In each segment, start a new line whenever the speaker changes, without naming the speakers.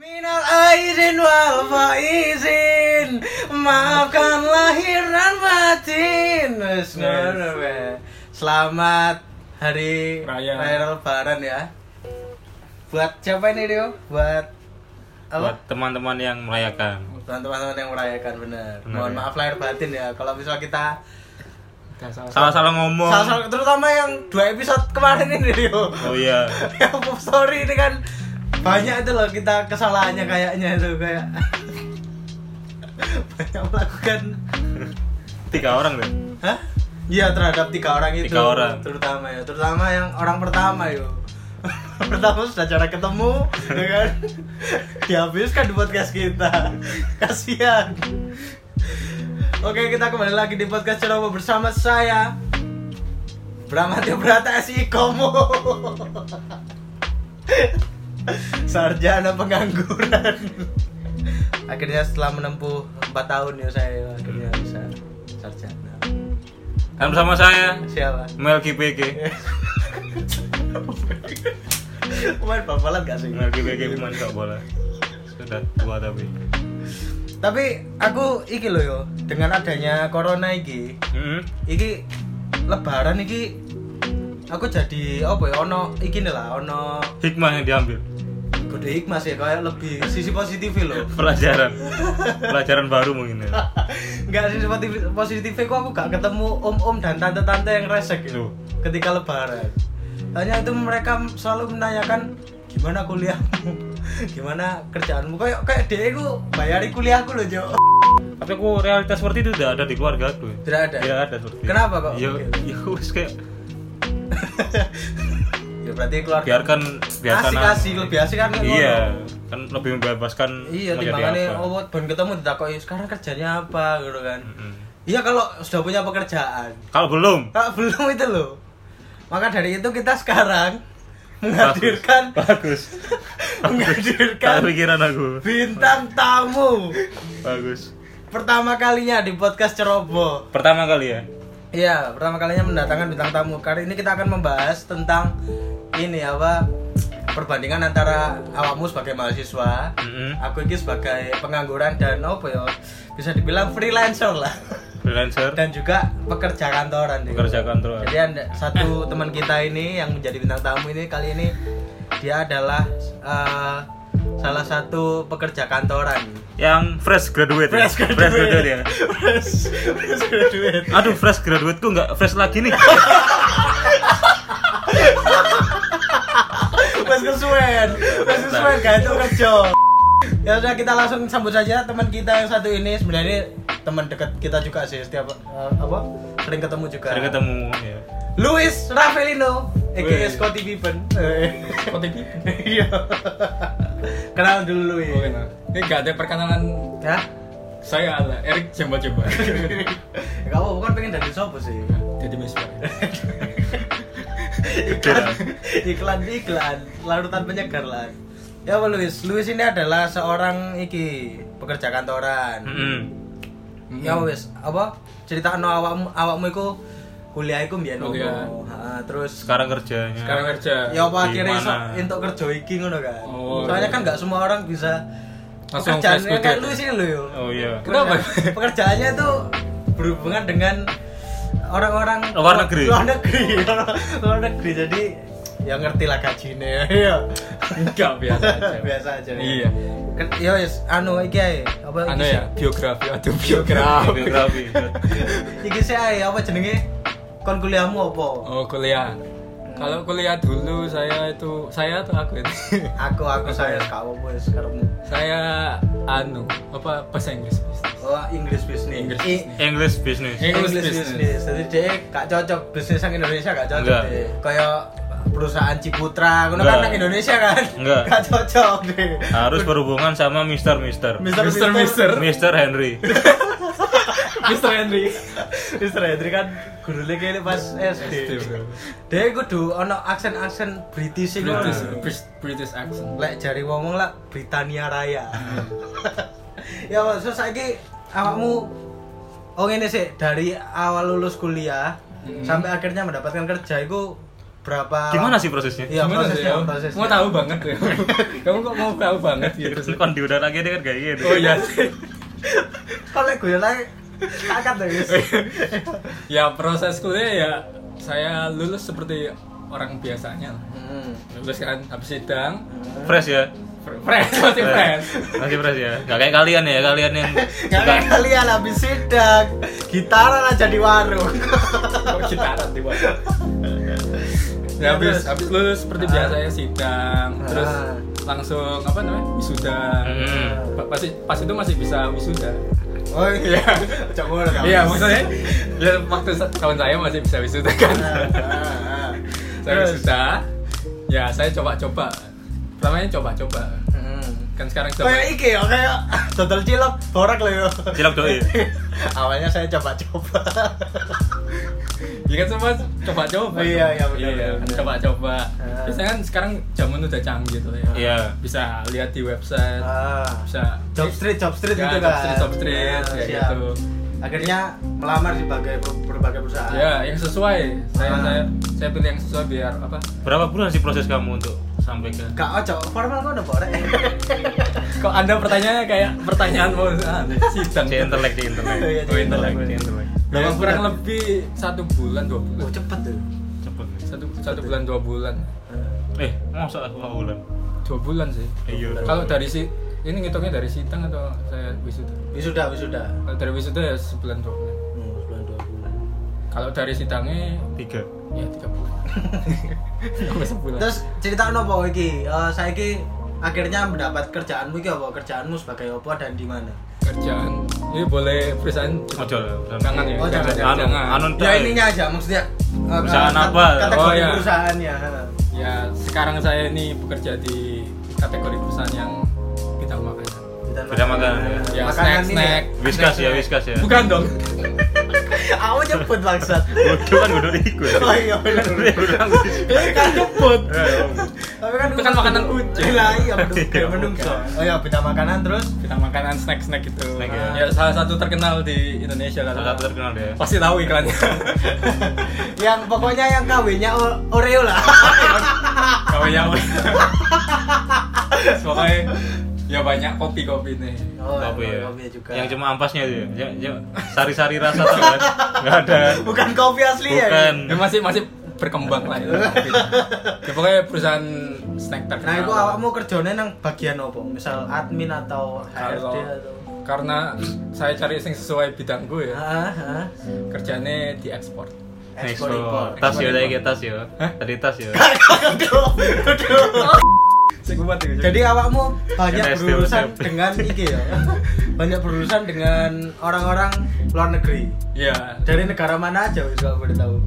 Minal aidin wal faizin Maafkan lahir dan batin Wes, ngono, weh. Selamat hari
Raya.
lebaran ya Buat siapa ini Rio? Buat
buat
apa?
teman-teman yang merayakan
Buat teman-teman yang merayakan bener
Bener,
Mohon
ya.
maaf lahir batin ya Kalau misal kita
salah-salah ngomong
salah Terutama yang dua episode kemarin ini Rio
oh iya
yang pop story ini kan banyak itu loh kita kesalahannya kayaknya itu kayak banyak melakukan
tiga orang deh
hah Iya terhadap tiga orang itu
Tiga orang.
terutama ya terutama yang orang pertama yo Orang pertama sudah cara ketemu ya kan dihabiskan di podcast kita kasihan Oke kita kembali lagi di podcast Ceroboh bersama saya Bramatio Brata SI Komo Sarjana pengangguran Akhirnya setelah menempuh 4 tahun ya saya Akhirnya bisa sarjana
dan bersama saya
Siapa?
Mel GPG
Main babalan gak sih?
Mel GPG pemain sepak bola sudah tua tapi
Tapi aku iki loh yo Dengan adanya corona iki
Mm-mm.
Iki lebaran iki Aku jadi apa ya? Ono iki nih lah Ono
hikmah yang diambil
Gede hikmah sih kayak lebih sisi positif loh
pelajaran pelajaran baru mungkin ya
Enggak sih positif positifnya kok aku gak ketemu om-om dan tante-tante yang resek itu
Loh.
ketika lebaran. Hanya itu mereka selalu menanyakan gimana kuliahmu, gimana kerjaanmu. Kayak kayak dia itu bayari kuliahku loh, Jo.
tapi aku realitas seperti itu tidak ada di keluarga aku ya.
Tidak ada.
tidak ada seperti itu.
Kenapa kok?
ya ya wis kayak
Ya berarti keluar
biarkan biarkan
asik asik lebih asik kan kayak
iya
ngono.
kan lebih membebaskan
Iya,
mau jadi
timbangannya
apa.
oh ben ketemu ditakoki sekarang kerjanya apa gitu kan.
Mm-mm.
Iya kalau sudah punya pekerjaan.
kalau belum
Ah, belum itu loh. Maka dari itu kita sekarang menghadirkan
bagus
menghadirkan
tak pikiran aku
bintang tamu
bagus
pertama kalinya di podcast Ceroboh.
pertama kali ya
Iya, pertama kalinya mendatangkan bintang tamu. Kali ini kita akan membahas tentang ini apa perbandingan antara awakmu sebagai mahasiswa,
Mm-mm.
aku ini sebagai pengangguran dan apa ya bisa dibilang freelancer lah
freelancer
dan juga pekerja kantoran deh.
pekerja kantor
Jadi ada satu teman kita ini yang menjadi bintang tamu ini kali ini dia adalah eh, salah satu pekerja kantoran.
yang fresh graduate ya? ya
Fresh, fresh graduate.
aduh fresh graduate ku nggak fresh lagi nih
Mas kesuwen, mas kesuwen gak itu kerja. Ya sudah kita langsung sambut saja teman kita yang satu ini sebenarnya ini teman dekat kita juga sih setiap eh, apa sering ketemu juga.
sering ketemu ya
Luis Ravelino, aka
Wih.
Scotty Pippen. Scotty Pippen. Iya. Kenal dulu Luis.
Oke, nah. Ini gak ada perkenalan
Hah?
saya adalah Erik coba-coba.
Ya, Kamu bukan pengen dari sopo sih?
Jadi misbah.
Nah. iklan, iklan, iklan, larutan penyegar lah. Ya, apa, Luis. Luis ini adalah seorang iki pekerja kantoran.
Mm-mm.
Hmm.
Ya wis, apa? Cerita no awakmu awakmu iku kuliah iku mbiyen opo?
Kuliah.
Ha, terus
sekarang kerjanya
Sekarang kerja.
ya apa
Di
akhirnya iso
mana?
entuk kerja iki ngono kan.
Oh,
Soalnya
iya.
kan nggak semua orang bisa
Langsung
pekerjaan
fresh
kayak
graduate.
lu sini lo yo.
oh iya
Kenapa?
Pekerja- Pekerjaannya tuh berhubungan dengan orang-orang
Luar negeri.
Luar negeri. luar negeri. Jadi ya ngerti lah gajinya ya.
Enggak biasa aja.
Biasa aja. ya.
Iya.
Ken- Yo wis anu iki ae. Apa
Anu
iki
ya, biografi, aduh biografi.
biografi
Iki sih ae, apa jenenge? Kon kuliahmu apa?
Oh, kuliah. Kalau kuliah dulu saya itu saya tuh aku itu.
Aku aku saya
ya.
kamu wis karepmu.
saya anu, apa bahasa Inggris. bisnis.
Oh, English business.
English
I-
English business
English,
English
business.
business.
Jadi dia gak cocok bisnis yang Indonesia gak cocok
Enggak.
deh. Kayak perusahaan Ciputra, ngono kan
Enggak.
nang Indonesia kan?
Enggak.
Gak cocok deh.
harus berhubungan sama Mister Mister
Mister
Ah. Mister,
Mister
Mister.
Mister Henry
Mr. Henry.
Mister Hendri kan gurune kene pas SD.
SD, bro.
Dia kudu ono aksen-aksen British iku.
British, British- British accent.
lek jari ngomong lah Britania Raya. ya maksud saiki awakmu oh ngene sih dari awal lulus kuliah
Mm-mm.
sampai akhirnya mendapatkan kerja itu berapa
Gimana sih prosesnya?
Iya,
Gimana tuh,
prosesnya,
Yo?
prosesnya.
Mau tahu banget ya. Kamu kok mau tahu banget gitu
Terus
sih?
kan diundang lagi dia kan kayak gitu.
Oh iya sih.
kalau gue lagi angkat deh guys
Ya proses kuliah ya saya lulus seperti orang biasanya. lah.
Hmm.
Lulus kan habis sidang,
Fresh ya.
fr- fresh masih fresh.
Masih fresh ya. Gak kayak kalian ya, kalian yang
Gak
suka
kayak kalian habis sidang Gitaran aja di warung
Kok gitaran di bawah. Ya habis habis lulus
Ah.
seperti biasanya sidang, terus
Ah.
langsung apa namanya? wisuda.
Hmm.
Pa- Pas, pas itu masih bisa wisuda.
Oh iya Coba udah
Iya, maksudnya ya, waktu sa- tahun saya masih bisa wisuda
Ah,
kan. saya
Terus.
wisuda. Ya, saya coba-coba. Pertamanya coba-coba.
Hmm.
Kan sekarang coba.
Kayak iki ya, kayak total cilok, borak lah yo.
Cilok doi.
Awalnya saya coba-coba.
Ya kan semua
Oh,
coba-coba.
iya, iya, benar,
Iya,
benar.
coba-coba.
Ah.
Biasanya kan sekarang zaman udah canggih tuh ya.
Iya.
Bisa lihat di website,
Ah,
bisa
job street, job street
Ya,
gitu
job
kan.
street, job street,
Ah,
kayak
siap.
gitu.
Akhirnya melamar di berbagai, berbagai perusahaan.
ya yang sesuai. Saya
Ah.
saya saya pilih yang sesuai biar apa?
Berapa bulan sih proses kamu untuk sampai
ya.
ke
Gak ojo, oh, formal kok udah borek.
Kok Anda pertanyaannya kayak pertanyaan mau ah, sidang.
si interlek di
Oh,
interlek.
iya,
Oh,
si
interlek,
interlek.
si interlek.
Ya,
Berapa
kurang
bulan?
lebih satu bulan dua bulan.
Iya, Oh cepet tuh.
Cepet.
satu satu bulan dua bulan
Eh, masa aku nggak bulan?
dua bulan sih
Iya.
kalau dari si ini ngitungnya dari sidang atau saya wisuda
Wisuda, wisuda.
kalau dari wisuda ya sebulan dua bulan
Hmm, sebulan dua bulan.
kalau dari sidangnya
tiga.
ya tiga bulan sampai sebulan
Terus cerita nopo iki? Eh saya iki akhirnya mendapat kerjaanmu iki apa? Kerjaanmu sebagai apa dan di mana?
kerjaan ini boleh perusahaan
Ojo lah, perusahaan.
jangan ya
Oh, jangan,
jangan,
Anu,
jangan.
anu
Ya
tai.
ininya aja maksudnya eh,
Perusahaan
kat-
apa?
Kategori
Oh, iya.
perusahaannya.
ya sekarang saya ini bekerja di kategori perusahaan yang kita makan
Bidang makanan.
ya
Makanan
snack
ini.
snack
Whiskas ya, whiskas ya.
bukan dong
Aku nyebut bangsat.
Bodoh kan udah ikut.
Oh iya bener.
Eh, kan nyebut
Eh,
Tapi kan
Itu kan makanan kucing.
Lah iya menungso.
Iya,
menungso. Oh iya bidang makanan terus
kita makanan snack snack gitu
Snack
ya.
ya salah satu terkenal di Indonesia lah
Salah satu terkenal deh.
pasti tahu iklannya
yang pokoknya yang KW-nya O- Oreo lah.
kau yang
ya.
pokoknya ya banyak kopi kopi nih
Oh,
Kopi ya.
kopi juga.
Yang cuma ampasnya itu ya. Ya- ya. Sari-sari rasa tuh kan. Enggak ada.
bukan kopi asli ya.
Bukan.
ya masih masih berkembang lah itu kopi. ya pokoknya perusahaan snack terkenal
Nah, itu awakmu kerjanya nang bagian apa? Misal admin atau HRD
Kalau-
atau
karena saya cari yang sesuai bidang gue ya
Hah? Hah?
kerjanya di ekspor
Next
Ekspor impor.
bro. Tas ya tadi kayak tas ya. Tadi tas ya.
Kan.
Saya kuat itu.
Jadi awakmu banyak
MSD,
berurusan
udah.
dengan iki ya. Banyak berurusan dengan orang-orang luar negeri.
ya
Iya.
Dari negara mana aja wis kalau boleh tahu.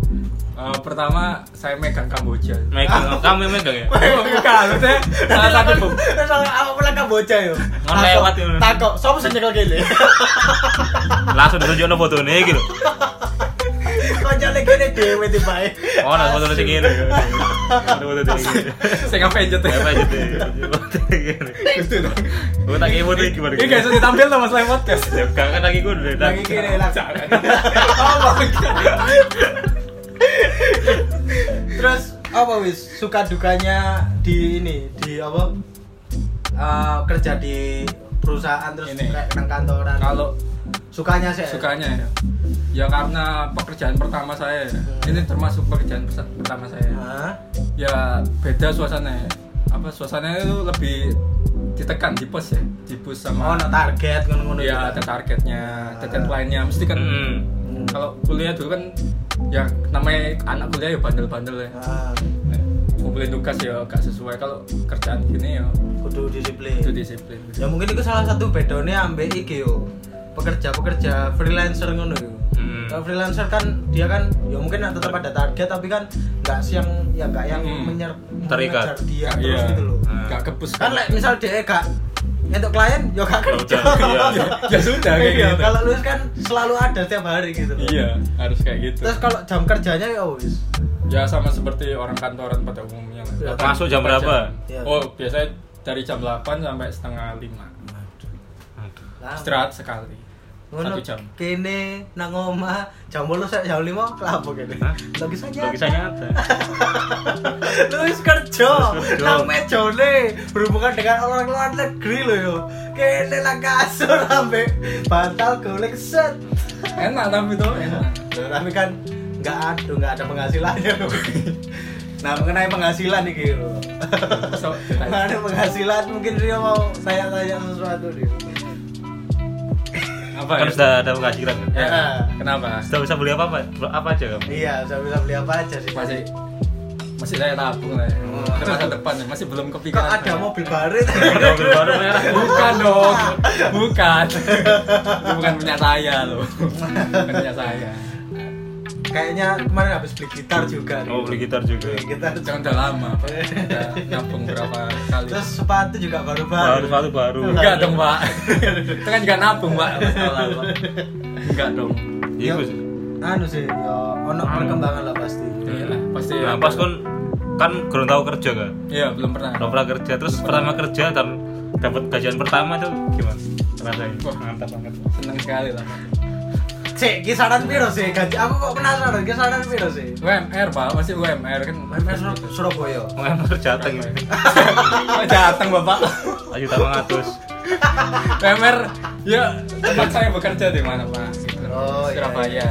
eh, pertama saya megang Kamboja
Megang kamu yang megang ya.
bukan maksudnya
Nah,
salah satu bu-
Terus awak pula Kamboja yo.
Ngon lewat yo.
Takok, sapa sing nyekel kene?
Langsung ditunjukno fotone iki lho.
Kancane kene dhewe tibae.
Oh, nah fotone sing ngene. Ada foto sing ngene.
saya ngapain
Ya apa
aja
aja deh. Foto sing ngene. Gua tak kemo tuh gimana.
Ini guys, ditampil sama Slime Podcast.
Ya, enggak kan lagi gue udah
Lagi kene lah.
Oh, my God.
Terus apa wis suka dukanya di ini di apa Eh, kerja di perusahaan terus
Ini.
kayak nang kantoran
Kalau
sukanya sih
sukanya ya. Ya karena pekerjaan pertama saya. ya. Ini termasuk pekerjaan pers- pertama saya.
Hah?
Ya beda suasananya. Apa suasananya itu lebih ditekan di pos ya, di pos
oh
sama
no target ngono-ngono
ya ada
gitu.
targetnya, ada deadline-nya. Mesti kan
Hmm.
Hmm.
kalau kuliah dulu kan ya namanya anak kuliah ya bandel-bandel ya.
Ah,
Ngumpulin tugas ya gak sesuai kalau kerjaan gini ya
kudu disiplin
itu disiplin.
ya mungkin itu salah satu bedone ambek iki yo pekerja-pekerja freelancer ngono yo
Hmm.
Kalau freelancer kan dia kan ya mungkin tetap ada target tapi kan nggak siang ya nggak yang
Hmm.
menyer-
Terikat.
mengejar dia
Gak-
terus
iya.
gitu loh.
Gak kepus
kan lek misal dia gak untuk klien yo gak
Ya
kerja
udah, iya.
ya sudah kayak
Iya,
gitu.
kalau lu kan selalu ada setiap hari gitu loh.
Iya, harus kayak gitu.
terus kalau jam kerjanya ya wis
ya sama seperti orang kantoran pada umumnya.
Ya,
Delapan-
masuk jam
empat
berapa?
Iya.
Oh, biasanya dari jam 8 sampai setengah 5.
Aduh.
Lama.
Istirahat sekali.
Ngono,
Satu jam.
Kene nang omah jam 8 sak jam 5 kelapa kene.
Hah?
Lagi saja.
Lagi saya nyata.
Terus kerja,
Terus kerja.
nang mejone berhubungan dengan orang luar negeri loh yo. Kene nang kasur sampe bantal golek set.
enak tapi tuh enak
Loh, tapi kan nggak aduh nggak ada penghasilannya loh. nah mengenai penghasilan nih gitu
so, kita-
mengenai penghasilan mungkin Rio mau saya tanya sesuatu nih
apa
Kan
ya?
sudah ada penghasilan. kan?
Ya,
Ya.
kenapa
Sudah bisa beli apa apa? Apa aja kamu?
iya saya bisa beli apa aja sih
masih masih saya tabung lah ya.
Oh.
Ke masa depan ya, masih belum
kok
kepikiran
ada mobil baret
Ada mobil baru merah.
bukan dong bukan Itu bukan punya saya loh bukan punya saya
kayaknya kemarin habis beli gitar juga
Oh, beli gitar juga.
Beli gitar
jangan udah lama udah nabung berapa kali
terus sepatu juga baru Iya.
Baru
baru
sepatu baru.
enggak dong pak itu kan juga nabung pak Masalah, Pak. enggak dong
Iya, Gus.
anu sih ya ono perkembangan lah pasti
iya lah, pasti
Nah, pas kan kan kurang tahu kerja kan.
iya belum pernah
Belum pernah kerja, terus pertama kerja dan dapat gajian pertama tuh gimana? Rasanya
Wah.
mantap banget.
seneng sekali lah Pak.
cek kisaran piro sih gaji aku kok penasaran kisaran piro sih
UMR pak masih UMR kan
Main Sur- Surabaya
Mengambil jateng.
Oh, datang bapak
Ayo tambah ngatus.
UMR ya tempat saya bekerja di mana pak Gitu.
Oh, iya,
Surabaya
iya,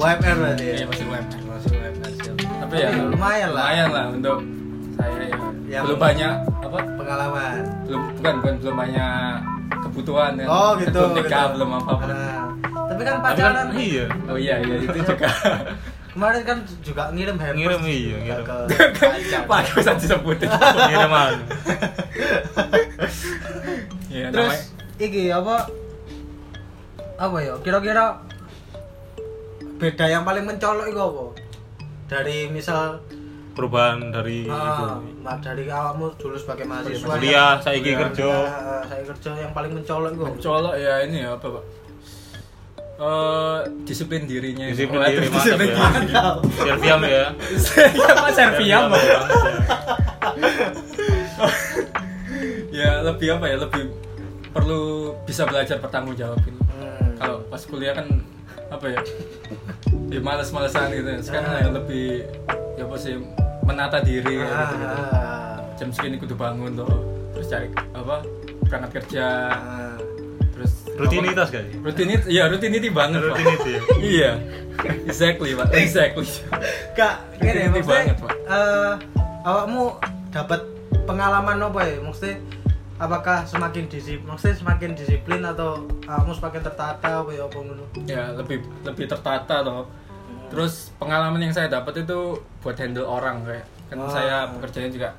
UMR berarti ya?
Iya, masih UMR.
Masih UMR, siap.
tapi ya
lumayan lah
lumayan lah untuk saya ya.
Ya.
belum banyak apa
pengalaman
belum bukan bukan belum banyak kebutuhan kan.
oh gitu
belum nikah
gitu.
belum apa apa
Nah, tapi kan
Tapi kan
pacaran
iya.
oh iya iya itu juga
kemarin kan juga ngirim hampers
Ngirim, iya,
juga
ngirim.
ke pacar.
pak bisa disebutin
Pengiriman.
Iya,
terus
namanya-
iki apa apa ya kira-kira beda yang paling mencolok itu apa dari misal
Perubahan
Gitu.
dari
ah, ma- dari awakmu dulu sebagai mahasiswa
kuliah, saiki
Kuliah.
kerja.
Nah, saya kerja yang paling mencolok itu apa?
colok ya ini ya apa pak Eh, disiplin dirinya
Disiplin
Waduh,
diri, mantap
disiplin
ya.
diri.
Serviam ya.
Iya, Pak, Serbia
Serviam,
Pak.
Bang.
ya lebih apa ya lebih perlu bisa belajar bertanggung jawab ini
Hmm.
kalau pas kuliah kan apa ya ya males-malesan gitu ya. sekarang
Ah.
ya lebih ya apa sih menata diri ya, gitu, gitu.
Ah,
jam segini kudu bangun tuh terus cari apa berangkat kerja
ah.
terus
Rutinitas kan?
apa? rutinitas ya rutinitas banget pak
Rutinitas ya. Eh,
iya exactly pak exactly
Kak, gini
Ini
maksudnya
banget, Pak.
eh, awakmu dapat pengalaman apa ya? Maksudnya apakah semakin disiplin, maksudnya semakin disiplin atau awakmu semakin tertata apa ya apa ngono?
ya lebih lebih tertata loh terus pengalaman yang saya dapat itu buat handle orang kayak kan
Ah.
saya pekerjaannya juga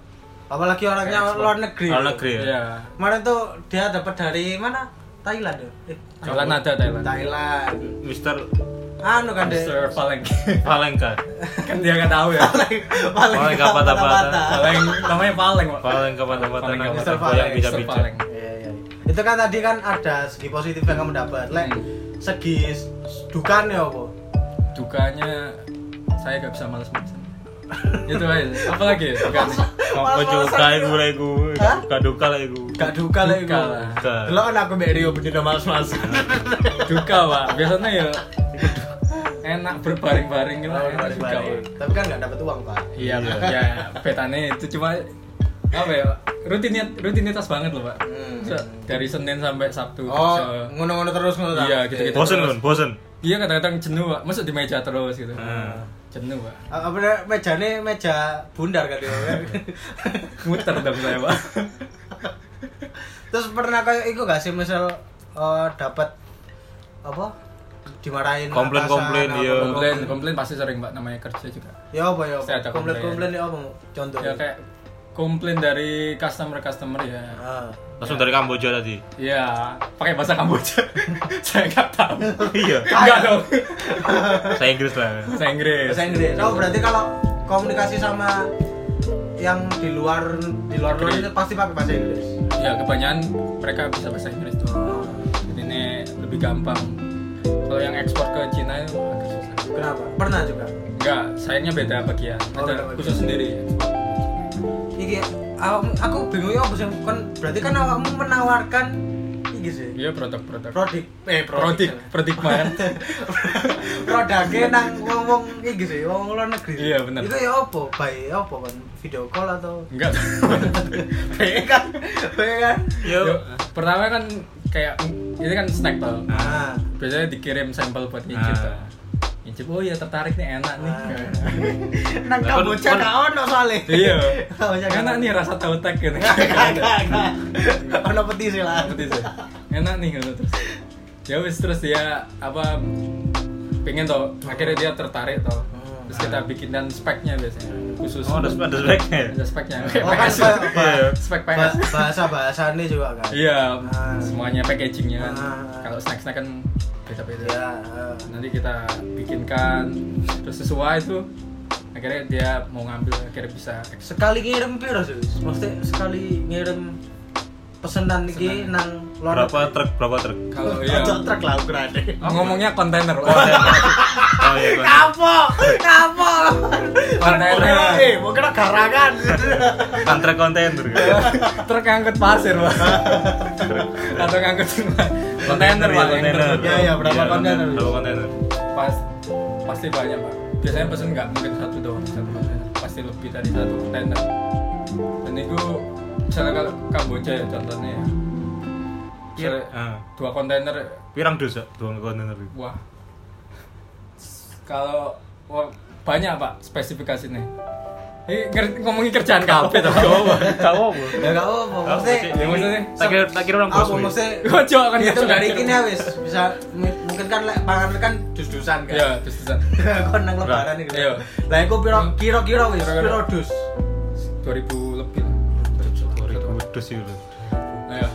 Apalagi orangnya
Kayak ekspor.
luar negeri.
Luar negeri. Iya.
ya
Kemarin tuh dia dapat dari mana? Thailand ya? Eh,
Thailand ada Thailand
Thailand.
Mister
Anu kan deh.
Mister Paleng
Palengka.
kan dia nggak tahu ya
Paling
Paling
nggak
kata-kata.
patah-patah.
Paleng namanya Paleng pak
Palengka mata-mata
Palengka,
nang
Mister
yang
Paleng,
bisa
Mister
bicara.
Paleng
Iya, iya. Itu kan tadi kan ada segi positif yang kamu dapat. Lek
Hmm.
segi s- dukanya apa?
dukanya saya nggak bisa males-malesan itu aja apalagi ya dukanya
Apa juga gue lagi gue,
Hah?
kaduka lagi gue.
Gak duka lah itu.
Duka lah. Oh,
Duka.
Delok kan aku mbak Rio bener males-malesan.
duka pak biasanya ya enak berbaring-baring
Oh,
gitu enak duka pak
Tapi kan gak dapat uang, Pak.
iya pak ya petane itu cuma apa ya rutinitas rutinitas banget loh pak
Hmm.
So, dari Senin sampai Sabtu
Oh,
kerja.
ngono-ngono terus ngono ta?
Iya, gitu-gitu.
Bosen kan, bosen.
iya kadang-kadang jenuh pak masuk di meja terus gitu
Hmm.
jenuh pak
A- Apa namanya, mejane meja bundar kan dia, kan?
muter dong saya pak
Terus pernah kayak iku gak sih misal eh, dapat apa? Dimarahin
Komplain-
atasan,
komplain,
apa,
iya.
komplain komplain pasti sering mbak namanya kerja juga
Ya apa ya?
Saya ada komplain.
Komplain-komplain ya apa? Contoh.
ya kayak komplain dari customer customer ya
Ah.
Langsung dari Kamboja tadi.
ya pakai bahasa Kamboja saya nggak tahu
Iya.
nggak dong
Saya Inggris lah.
bahasa Inggris
bahasa Inggris. Oh berarti kalau komunikasi sama yang di luar di luar luar itu pasti pakai bahasa Inggris.
ya kebanyakan mereka bisa bahasa Inggris tuh jadi ini lebih gampang kalau yang ekspor ke Cina itu agak susah
Kenapa? Pernah juga.
enggak sayangnya beda bagian
Oh, beda
ada
bagian.
khusus sendiri
Iki awakmu- aku bingung ya apa sih? Kon berarti kan awakmu kan menawarkan iki tinggi sih
Iya produk-produk.
prodik eh
Produk,
prodik
produk man.
produknya nang wong wong iki sih wong luar negeri
Iya, bener.
itu ya opo baik opo kan video call atau
Enggak. Iya.
baik kan baik kan
Yuk,
Yuk.
pertama kan kayak ini kan snack tau.
ah
Biasanya dikirim sampel buat ngincip
Ah.
tau. Ngincip, oh iya tertarik nih enak nih.
nang
Lah, kon-
kamboja
kon-
gak ono soalnya
kan Iya.
kamboja gak
Enak
ono.
nih rasa tautek gitu.
Gak, gak, gak. ono peti sih lah
Seperti itu. Enak nih gitu terus. Ya wis terus dia apa pengen tau akhirnya dia tertarik tau terus kita bikinkan speknya biasanya khusus
Oh, ada spe- ada speknya ya?
ada speknya
Oh, kan
PS.
kayak-
Iya.
spek PS
Ba- bahasa bahasanya juga kan
Iya,
Ah.
semuanya packagingnya kan.
Ah.
Kalau snack-snack kan beda-beda.
ya ah.
Nanti kita bikinkan terus sesuai itu akhirnya dia mau ngambil akhirnya bisa ekspor.
sekali ngirim piro sih Wis? maksudnya sekali ngirim pesenan iki
Pesenan.
nang luar
Berapa truk? Berapa truk?
Kalau iya
Oh, truk lah ukurane
ngomongnya kontainer,
Oh, saya- oh iya. gua-
kapok kapok eh
kontainer,
mau kena garangan
Kontrak kontainer. kan?
truk ngangkut pasir pak, atau ngangkut kontainer
ya,
pak, yang
kontainer.
tertutup.
Iya, iya, berapa
Iya,
kontainer?
Berapa kontainer?
Pas, pasti banyak pak. Biasanya pesen nggak mungkin satu doang, satu kontainer. pasti lebih dari satu kontainer. Dan itu misalnya kalau Kamboja ya contohnya ya,
Iya.
misalnya
Ah.
dua kontainer,
Pirang dosa dua kontainer. itu?
wah kalau wah, banyak pak spesifikasinya. Ini nger- ngomongin kerjaan kafe tuh.
Kau apa?
ya gak apa
Kau
maksudnya
Yang maksudnya?
Tak kira tak kira orang
apa
bosmu. ya?
maksudnya
Ojo, kan
itu
gitu.
dari kini ya wis bisa m- mungkin kan lek pangan kan dus-dusan kan
Iya, terus terusan.
kon nang lebaran iki
Iya.
lah iku piro kira-kira wis
Kira-kira.
piro dus
2000 lebih lah.
Dua ribu dus iya, itu.
Ayo.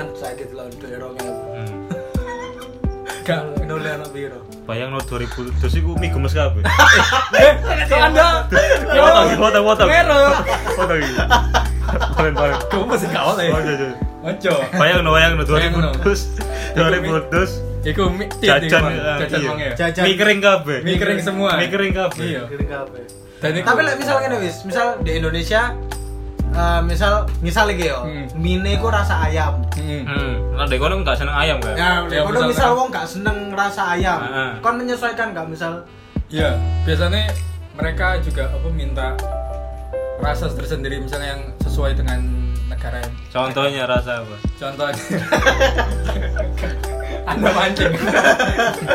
kan saiki delok duwe rong ya.
Hmm.
Gak.
nol ana piro
Bayang no 2000 dus iku mie gemes kabeh.
Eh, Kok Anda?
Potong, potong, potong.
Mero.
Foto iki. Keren banget.
Kamu masih gak oleh.
Oh, iya, iya.
Ojo.
Bayang no bayang no
Bayang no.
2000 dus. 2000 dus.
Iku mi tit, iku,
Jajan,
Bang.
eh,
jajan
iya.
wong ya.
Jajan.
Mie kering kabeh.
Mie kering semua.
Mie kering kabeh.
Iya.
kira kabeh
Dan iku-
tapi lek misal ngene wis misal di Indonesia eh, misal misal iki yo
Hmm.
mine iku rasa ayam
Mm.
Hmm, nah dek kono enggak seneng ayam kan?
Ya,
Ya,
kalau misal
misal-
wong gak seneng rasa ayam,
Heeh.
kon menyesuaikan gak misal
Iya, biasanya mereka juga apa minta rasa tersendiri misalnya yang sesuai dengan negara yang
Contohnya rasa apa?
contohnya Anda mancing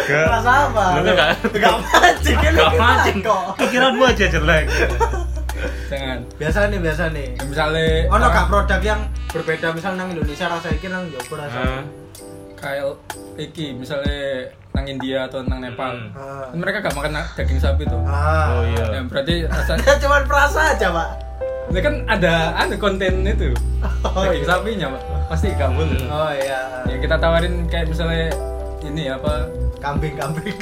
rasa apa?
Lu tuh Ya. gak-
Gak mancing, ini
Gak
kita
mancing
kok.
Pikiranmu aja jelek.
jangan
Biasa nih, biasa nih.
Ya, misalnya
Ono
orang-
gak produk yang berbeda misal nang Indonesia rasa iki nang Jawa rasa.
Heeh.
kayak iki misalnya nang India atau nang Nepal
Hmm.
Ah.
Kan mereka gak makan na- daging sapi tuh
Ah.
Oh iya.
ya, berarti rasanya
Ya cuman perasa aja, Pak.
ini kan ada anu konten itu
Oh,
daging
iya.
sapinya Pak. pasti kabul
Hmm.
Oh iya.
ya kita tawarin kayak misalnya ini apa
Kambing-kambing.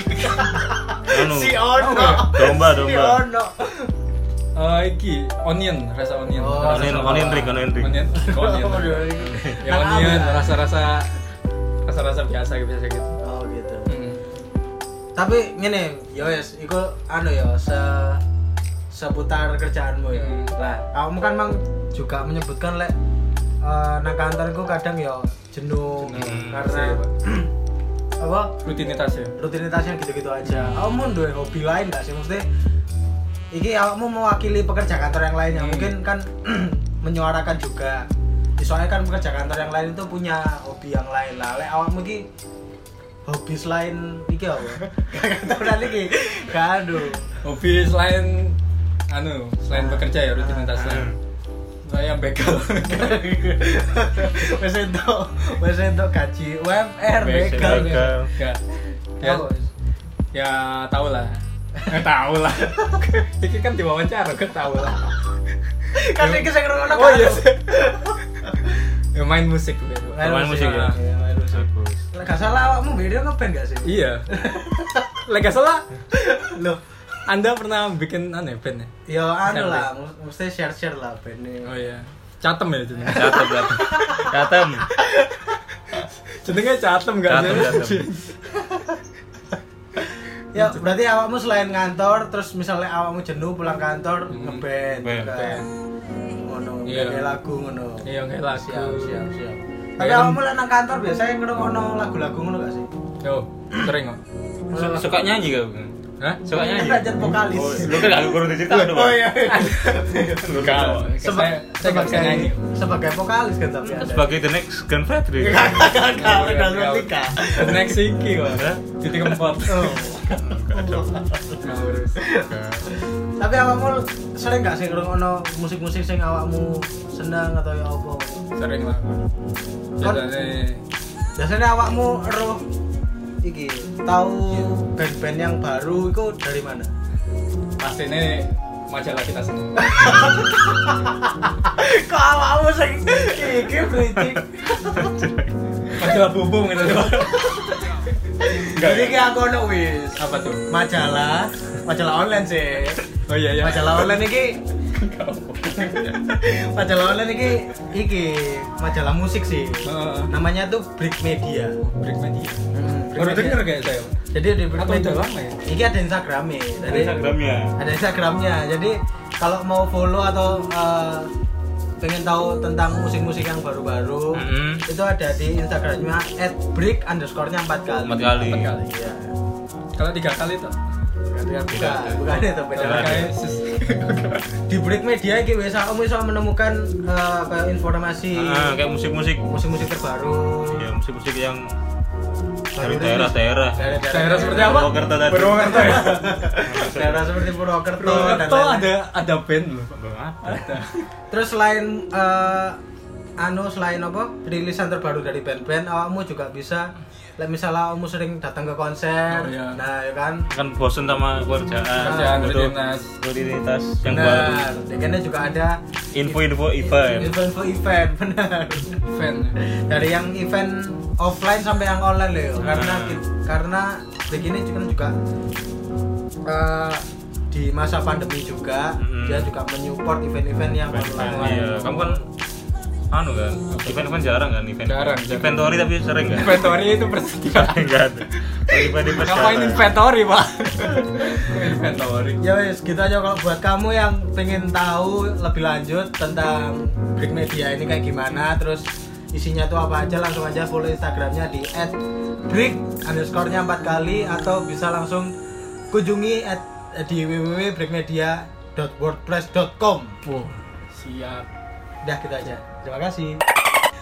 Anu.
si Ono.
Apa ya?
Domba,
Si
domba.
Ono.
eh, iki onion rasa onion
Oh,
Rasa
Onion,
sama-
onion ring, onion ring.
onion onion.
iya,
ya
Nang
onion
apa?
rasa-rasa rasa-rasa biasa biasa gitu
Oh gitu.
Mm.
tapi ngene yo wes iku anu yo se seputar kerjaanmu ya
Hmm.
lah kamu kan mang juga menyebutkan lek eh, nang kantorku kadang yo jenuh
Jenuh.
karena
Iya, Pak.
apa
rutinitas ya
rutinitasnya gitu-gitu aja kamu duwe hobi lain gak sih maksudnya iki kamu mewakili pekerja kantor yang lain yang
Hmm.
mungkin kan menyuarakan juga soalnya kan pekerja kantor yang lain itu punya hobi yang lain lah lek awakmu iki hobi selain iki apa kantoran iki kado
hobi selain anu selain bekerja ya rutinitas lain saya begal
wes entuk wes entuk gaji UMR begal
Begal. Begal.
Enggak. ya
Apa?
ya tau lah Eh, tau lah ini kan diwawancara kan tau lah
kan iki sing ngrungokno kan?
Oh, iya.
kado.
ya, main musik gitu.
Main musik ya?
Iya, main musik.
Bagus.
Lek gak salah awakmu beda ngeband gak sih
iya lega salah
loh
anda pernah bikin anu ya, band ya
Ya anu
Sampai.
lah, mu- mesti share-share lah bandnya
oh iya catem ya jenengnya
Catem, catem. Catem.
jenengnya catem Iya. gak
Catem,
sih
catem.
Ya berarti awakmu selain kantor, terus misalnya awakmu jenuh pulang kantor
Hmm,
ngeband
ngeband.
juga.
Band.
Ngono,
Iya.
ngeband lagu ngono.
iya kayak lagu
Siap, siap, siap. Tapi kamu lah nang kantor biasanya ngrungokno lagu-lagu ngono gak sih?
Yo, Oh, sering kok.
Su- suka nyanyi kau
Hah?
suka nyanyi
Belajar vokalis.
Oh, lu kan aku kurang cerita dong
Oh iya. iya.
kan.
Enggak. Saya saya enggak bisa nyanyi.
sebagai vokalis kan tapi ada.
sebagai the next Grand Fredrik
Kakak, kakak, udah bertika.
Next iki kok.
Hah?
Titik empat.
Oh.
Nah, terus.
Tapi awakmu sering gak sih ngrungokno musik-musik sing awakmu seneng atau ya apa?
Sering lah. Biasanya
Biasanya awakmu roh iki tahu band-band yang baru itu dari mana?
pastinya majalah kita sendiri.
Kok awakmu sing iki bridging?
Majalah bubu gitu. Enggak.
Jadi kayak aku ono wis
Apa tuh?
majalah, majalah online sih.
Oh iya iya.
Majalah online iki,
Enggak apa-apa.
majalah online iki iki majalah musik sih.
Heeh.
Namanya tuh Brick Media.
Break media.
Brick
Baru
Media.
denger kayak saya.
Jadi di Brick
Atau
Media.
udah lama ya?
Iki ada Instagramnya. Jadi
Instagramnya
ada Instagramnya. Jadi kalau mau follow atau eh, pengen tahu tentang musik-musik yang baru-baru
Mm-mm.
itu ada di Instagramnya @brick underscore-nya empat kali.
empat kali
Empat kali.
Iya.
Kalau tiga kali tuh.
Bukan,
Beda.
bukan itu beda
Kalau
lagi.
kayak sis-
Di break media iki wis kamu bisa menemukan eh, kayak informasi
Ah, kayak musik-musik
musik-musik terbaru.
ya musik-musik yang
Baru
dari
rilis.
daerah-daerah
Daerah seperti apa?
Purwokerto tadi.
Purwokerto ya.
daerah seperti Purwokerto, dan
Purwokerto
lain-lain.
ada ada band loh. Ada.
Terus selain eh, anu selain apa rilisan terbaru dari band-band, awakmu juga bisa like misalnya awakmu sering datang ke konser,
Oh, iya.
nah ya kan.
kan bosen sama
Ah,
kerjaan
Kerjaan,
butuh
rutinitas.
rutinitas yang baru
benar. Dekannya juga ada
info-info event
info-info event, benar.
Fan.
Dari yang event offline sampai yang online loh, karena
Nah.
karena begini juga juga eh, di masa pandemi juga
Mm-mm.
dia juga menyupport event-event yang online.
Iya, kamu kan anu kan, event kan jarang kan event.
Jarang, jarang.
Inventory tapi sering kan?
Inventory itu persediaan.
Enggak ada. Event event
Ngapain inventory, Pak? Inventory.
Ya wes, gitu aja kalau buat kamu yang pengen tahu lebih lanjut tentang Brick Media ini kayak gimana, terus isinya tuh apa aja langsung aja follow Instagramnya di @brick underscore-nya empat kali atau bisa langsung kunjungi at, eh, di www.brickmedia.wordpress.com.
Wow, siap.
Udah gitu aja. Terima kasih.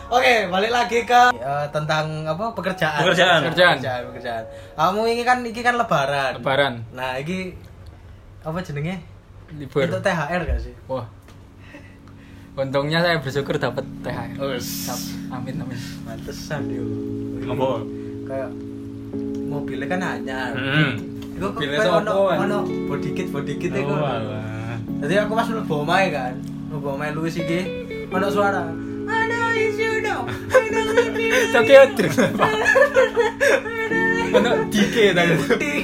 Oke, balik lagi ke eh, tentang apa pekerjaan.
Pekerjaan.
Pekerjaan, pekerjaan. pekerjaan. Kamu ini kan ini kan lebaran.
Lebaran,
Nah, ini apa jenenge?
libur.
Untuk THR gak sih?
Wah. Untungnya saya bersyukur dapat THR. Siap. Amin amin.
Mantesan yo.
Apa?
Kayak mobilnya kan anyar.
Heeh.
Iku kok
Hmm. Mobilnya Oh,
kayak ono
sopoan.
ono body kit body
Gitu,
kit iku.
Oh, alah.
Jadi aku pas mlebu omahe kan. Mlebu omahe Luis iki ono suara. I know you should know. I know you should know.
Tokyo Drift. Ono DK tadi.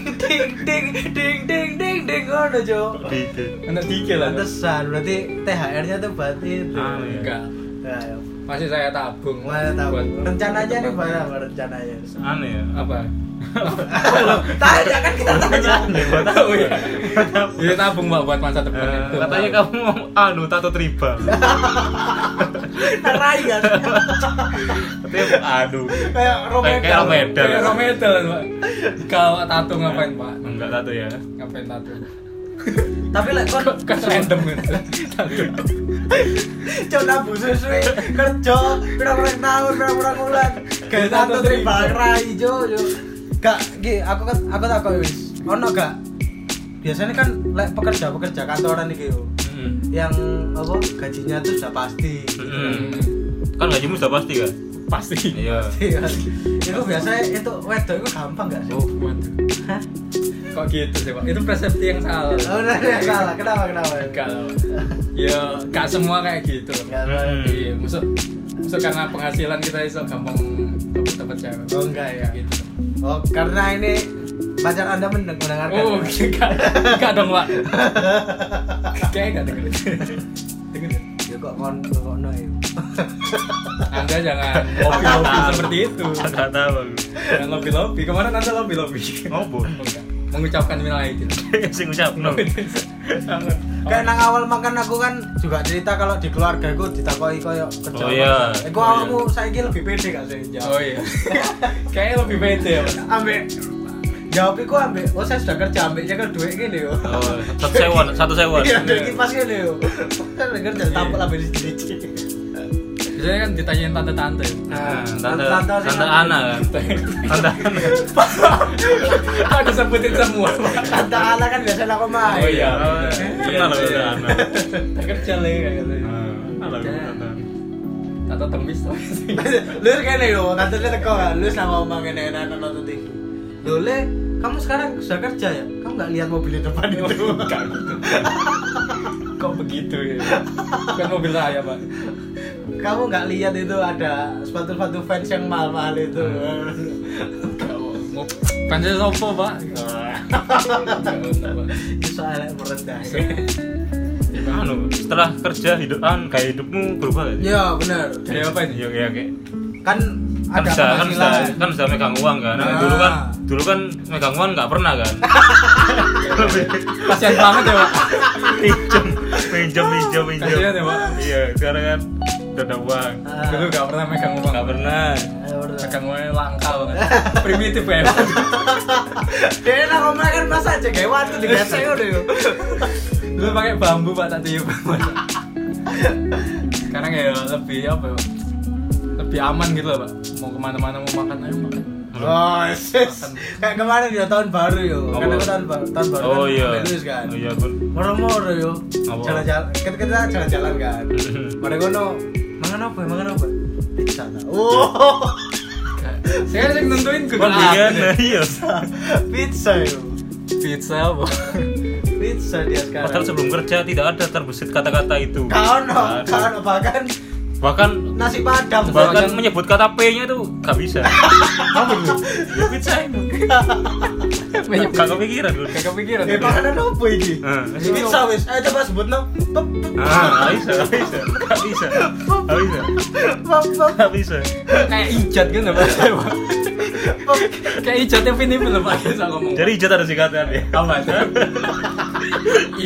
Ding ding ding ding ding ding ding ono jo.
Dikit.
Ono DK lah.
Pantesan berarti THR-nya tuh buat itu.
Ah, iya.
Enggak.
Ya, ya.
Masih saya tabung.
Mana tahu
Buat-
rencananya nih apa rencananya?
Aneh ya.
Apa?
Tanya kan kita tanya.
Aneh, gua tahu ya.
Ya tabung Mbak buat masa depan
Eh,
itu.
katanya kamu mau anu tato tribal.
Terai kan.
Katanya anu.
Kayak
Kayak kayak Romeda.
Kayak Romedal, Iya, Pak. Kalau tato ngapain, Pak?
Enggak tato ya.
Ngapain tato?
Tapi lek kon
Kan random gitu. Tato.
Cok nabung susu kerja berapa tahun berapa bulan gak satu terima rai jo jo gak gi aku kan aku tak kau wis ono gak biasanya kan lek pekerja pekerja kantoran nih yo
Heeh.
yang apa gajinya tuh sudah pasti
Hmm.
Heeh. Kan gajimu sudah pasti kan?
Pasti.
Iya.
Iya. itu biasanya itu wedok itu gampang gak sih
Oh, waduh.
Hah?
Kok gitu sih, Pak? Itu persepsi yang salah.
Oh, udah, udah, salah kenapa kenapa
Enggak lah, Pak. Ya, enggak semua kayak gitu.
Enggak,
Hmm.
Iya, maksud maksud karena penghasilan kita iso gampang dapat dapat cewek.
Oh, enggak ya.
Gitu.
oh karena ini pacar anda mendeng- mendengarkan
Oh, enggak. Enggak dong, Pak. Kayaknya enggak dengerin. Dengerin.
ya kok kon kok no ya
Anda jangan lobby-lobby seperti itu.
Enggak tahu. aku.
Jangan lobby-lobby. Kemarin Anda lobby-lobby.
Ngopo?
Enggak. Mengucapkan minal aidin.
Sing ngucapno.
Sangat.
kayak nang awal makan aku kan juga cerita kalau di keluarga aku ditakoi koyo kerja.
Oh, iya.
Aku
Oh, iya.
awalmu saiki lebih pede gak sih
oh
jawab.
iya kayaknya lebih pede ya Mas.
Ambek jawab iku ambek oh saya sudah kerja ambek jaga duit gini yo.
Oh, satu sewon, satu sewon.
Iya, duit kipas gini yo. Saya denger jadi
Iya.
tampuk lah di sini.
biasanya kan ditanyain tante-tante
Ah.
Nah, tante,
Tante-
tante, Ana kan. Tante Ana.
Pak disebutin semua Pak.
Tante Ala kan biasa nak main.
Oh iya.
Kenal loh Tante Ana.
Tak kerja lagi kayak gitu
Kenal loh
Iya.
Tante Ana.
tante temis tuh
lu kene yo, tante lu teko kan, lu sama omong kene enak nonton TV. Lu le, kamu sekarang sudah kerja ya? Kamu nggak lihat mobil di depan itu?
Enggak gitu. kok begitu ya kan mobil saya pak
kamu nggak lihat itu ada sepatu-sepatu fans yang mahal-mahal itu?
Enggak, Pak. mau pensil sopo pak
Nah.
Enggak, Pak.
Itu soalnya merendah.
Anu, setelah kerja hidup an kayak hidupmu berubah gak sih?
Ya benar.
dari apa ini
Iya, iya, kayak
Kan
kan
ada
bisa kan bisa
penghasilan. Eh,
kan bisa megang uang kan Nah,
Nah.
dulu kan dulu kan megang uang nggak pernah kan
kasihan banget ya pak
pinjam pinjam pinjam pinjam
Kasihan ya, Pak.
iya sekarang kan udah ada uang
Ah,
dulu gak pernah megang uang
nggak pernah
ayo, bener.
megang uangnya langka banget primitif ya Pak.
Dia enak omong kan masa aja kayak waktu digesek udah yuk.
dulu pakai bambu pak tak tiup sekarang ya lebih apa ya lebih aman gitu lah pak mau kemana-mana mau makan ayo makan
Oh, sis. Kayak kemarin ya tahun baru yo.
Apa?
Kan aku tahun baru, tahun baru
oh
kan
iya
lulus kan.
oh iya pun
Moro-moro yo.
Apa?
Jalan-jalan, kita kita jalan-jalan kan. Mari kono mangan apa? ya? Mangan apa? Pizza. tak? Oh,
sekarang saya nentuin ke
pun bikin iya
pizza yo.
pizza apa
Pizza dia sekarang.
padahal sebelum kerja tidak ada terbesit kata-kata itu
Kano,
Nggak ada.
kano bahkan
bahkan
nasi padang
bahkan
bahkan
menyebut kata P-nya tuh nggak bisa
apa dulu
ya pizza itu
banyak
nggak kepikiran dulu
kayak kepikiran
Eh, makanan apa ini?
Ah.
Pizza wis. Ayo coba sebut no. Pop,
ah nggak bisa nggak bisa nggak bisa nggak bisa
pop, pop,
nggak bisa
kayak ijat kan apa
pop.
kayak ijatnya pini belum pak saya ngomong
jadi hijau harus dikatakan ya
apa aja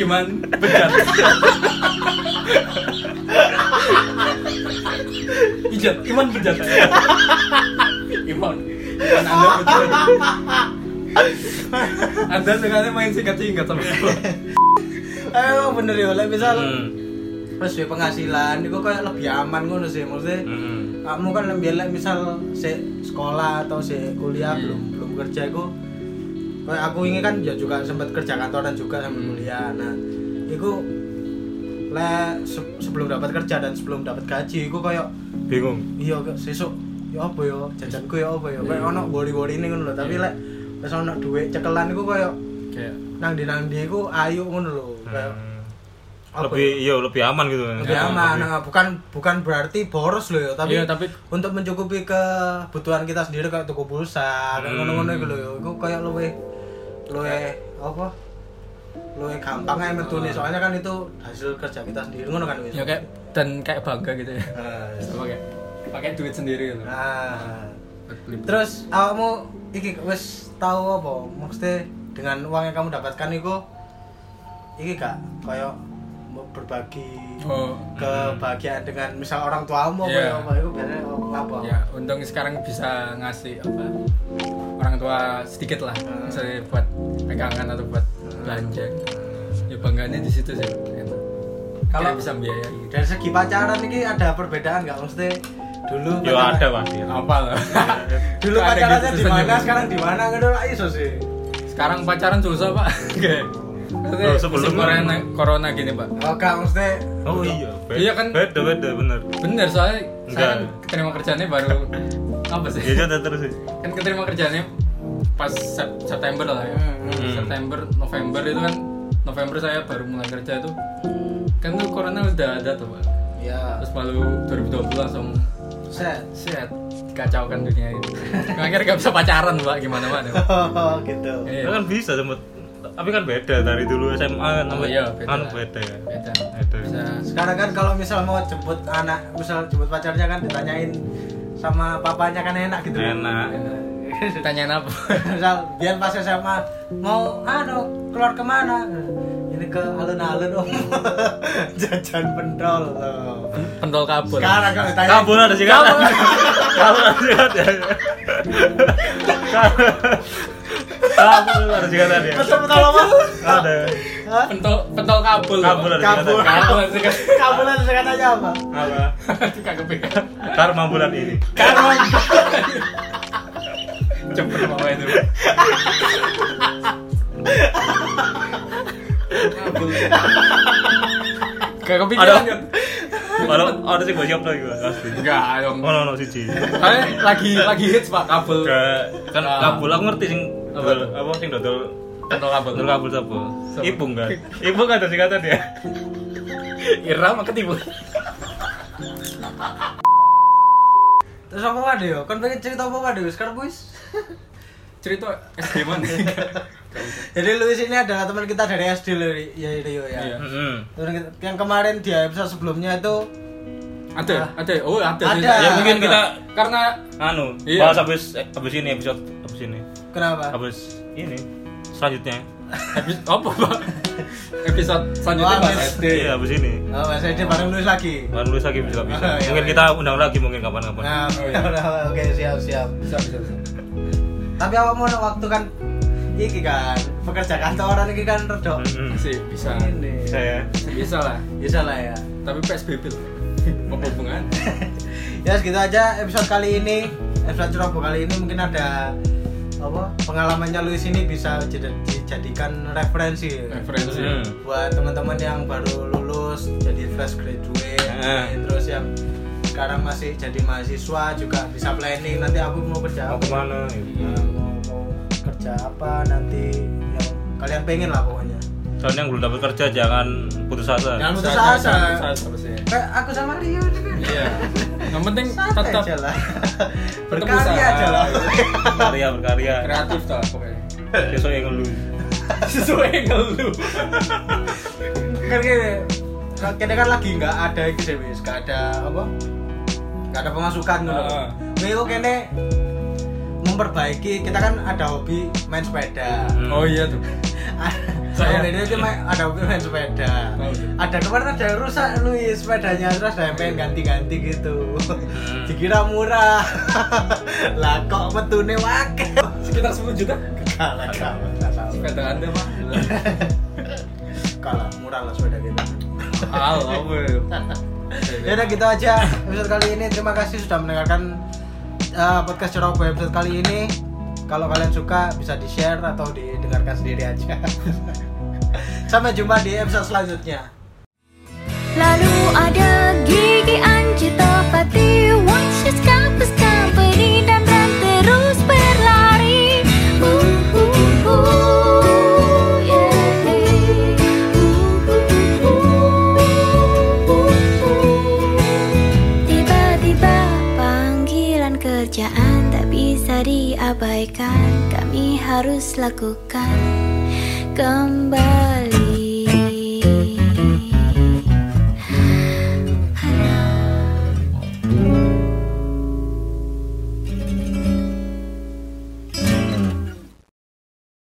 iman bejat ijat iman bejat iman iman anda bejat anda sekarang main singkat singkat sama saya
Ayo bener yo, lek misal
Hmm.
terus duwe penghasilan iku kayak lebih aman ngono sih maksudnya
Hmm.
kamu kan lebih lek misal si sekolah atau si kuliah
Hmm.
belum belum kerja iku kayak aku ini kan ya juga sempat kerja kantoran juga sambil
Hmm.
kuliah nah iku lek se- sebelum dapat kerja dan sebelum dapat gaji iku kayak
bingung
iya kok sesuk ya apa ya jajanku ya apa ya kayak
Iya.
ono wori-wori ini ngono lho tapi lek wis ono duit cekelan iku kayak
kayak
nang di nang di iku ayu ngono lho kayak
Hmm.
apa
lebih
ya?
iya lebih aman gitu kan.
lebih
Iya,
aman nah, bukan bukan berarti boros loh ya tapi,
Iya, tapi-
untuk mencukupi kebutuhan kita sendiri kayak tuku pulsa kayak
Hmm.
ngono-ngono gitu loh ya itu kayak luwe luwe apa luwe gampang aja metune soalnya kan itu hasil kerja kita sendiri ngono kan wis
Hmm. ya kayak dan kayak bangga gitu ya
Nah,
pakai pakai duit sendiri gitu
nah terus awakmu iki wis tahu apa maksudnya dengan uang yang kamu dapatkan itu iki gak kayak mau berbagi
oh
kebahagiaan dengan misal orang tuamu apa
Iya.
ya apa itu biasanya apa
ya untung sekarang bisa ngasih apa orang tua sedikit lah
Hmm.
misalnya buat pegangan atau buat belanja ya bangganya di situ sih kalau
Kalau-
bisa biayai
dari segi pacaran ini ada perbedaan nggak mesti dulu
Ya
pacaran-
ada pasti.
apa loh
dulu
Ada
pacarannya
gitu
di mana
senyum.
sekarang di mana gitu lah iso sih
sekarang pacaran susah pak Oke. Maksudnya
Oh, sebelum-
musim corona, corona gini pak
oh gak mesti
Oh iya, beda,
Iya kan?
beda beda bener.
bener soalnya saya kan
Enggak.
keterima kerjanya baru apa sih
Ya udah terus sih.
kan keterima kerjanya pas Sep- September lah ya
Hmm.
September November itu kan November saya baru mulai kerja itu kan tuh corona udah ada tuh pak
ya
terus malu 2020 langsung
set
set kacaukan dunia itu akhirnya gak bisa pacaran pak gimana mana Pak.
gitu
Iya.
Kan bisa sempet tapi kan beda dari dulu SMA kan
Oh,
sampai
iya, beda.
kan beda ya.
beda
Beda.
bisa
sekarang kan kalau misal mau jemput anak misal jemput pacarnya kan ditanyain sama papanya kan enak gitu
Enak.
ditanyain apa
misal Bian pas SMA mau anu keluar kemana ini ke alun-alun om jajan pentol loh
pentol kabel
sekarang kalau ditanya
Kabul ada singkatan. Kabul ada kan? singkatan. Kabul ada singkatan ya.
pesan pentol apa
Ada.
Hah?
pentol pentol kabel
Kabul ada
Kabul.
singkatan.
kabel sih kan
kamu lihat singkatannya apa
Apa?
kagak pegang
Karma bulan ini.
karena cepet mama itu kabel kagak kepikiran
Ada-
kan
Walau ada sih gue siap lagi gue pasti.
enggak dong
Oh no no siji.
Soalnya lagi lagi hits pak kabel
Ke- Kan
Ah.
kabul aku ngerti sing
Apa?
dodol- apa sing dodol
pentol kabel
dodol kabul apa?
Siapa?
Ibu kan? Ibu kan ada singkatan ya.
irama ketipu
terus apa waduh yo kan pengen cerita apa waduh sekarang kuis
cerita SD mana
jadi Luis ini adalah teman kita dari SD loh ya Rio
Iya.
ya
Mm-mm.
Terus yang kemarin di episode sebelumnya itu
ada ada oh ada
Ada.
cerita.
Ya,
mungkin kita-
karena
Anu,
Iya.
bahas habis eh, habis ini episode habis ini.
kenapa?
Habis ini selanjutnya.
habis apa pak episode selanjutnya
Wah,
bahas
habis.
SD
Iya, habis ini.
Oh, Mas Edi bareng Luis lagi.
Baru lulus lagi bisa bisa.
Ah, iya,
mungkin
iya.
kita undang lagi mungkin kapan-kapan.
Nah,
Oh, iya.
oke siap siap.
bisa bisa bisa.
Tapi apa mau waktu kan iki kan pekerja kantoran iki kan redo.
Mm-mm.
masih bisa
Ini.
Saya
Masih bisa lah
Bisa lah ya.
tapi PSBB loh apa hubungan
Ya segitu aja episode kali ini. Episode ceroboh kali ini mungkin ada apa pengalamannya Luis ini bisa jadi- dijadikan referensi ya.
referensi
Hmm.
buat teman-teman yang baru lulus jadi fresh graduate
Ah.
terus yang sekarang masih jadi mahasiswa juga bisa planning nanti aku mau kerja
mau
apa
kemana? gitu.
Nah, mau, mau kerja apa nanti yang kalian pengen lah pokoknya
Soalnya yang belum dapat kerja jangan putus asa.
Jangan putus
Saat-
asa.
saat- saat apa sih?
kayak aku sama Rio ini kan
iya yang penting
santai
tetap
aja lah
bertemu
berkarya aja lah
Berkarya berkarya.
kreatif lah pokoknya
Besok yang lu.
sesuai ngeluh
kan gini kan- kita kan lagi nggak ada itu sih wis nggak ada apa nggak ada pemasukan gitu
Ah.
Wih, oke kene memperbaiki kita kan ada hobi main sepeda
Hmm.
oh iya tuh Saya-
saya ini itu main- ada hobi main sepeda
Oh, iya.
ada kemarin ada yang rusak Luis sepedanya terus ada yang pengen ganti-ganti gitu
Hmm. Mm.
dikira murah lah kok metune wake
sekitar 10 juta
kalah kalah kalah
sepeda anda pak
kalah murah lah sepeda kita
Allah
Ya udah gitu aja episode kali ini. Terima kasih sudah mendengarkan eh, podcast Ceroboh episode kali ini. Kalau kalian suka bisa di-share atau didengarkan sendiri aja. Sampai jumpa di episode selanjutnya.
Lalu ada gigi Anci Topati Watches Campus Company Dan dan terus berlari Uh, uh, uh, yeah, yeah. Uh, uh, uh, uh, uh. Tiba-tiba panggilan kerjaan tak bisa diabaikan Kami harus lakukan kembali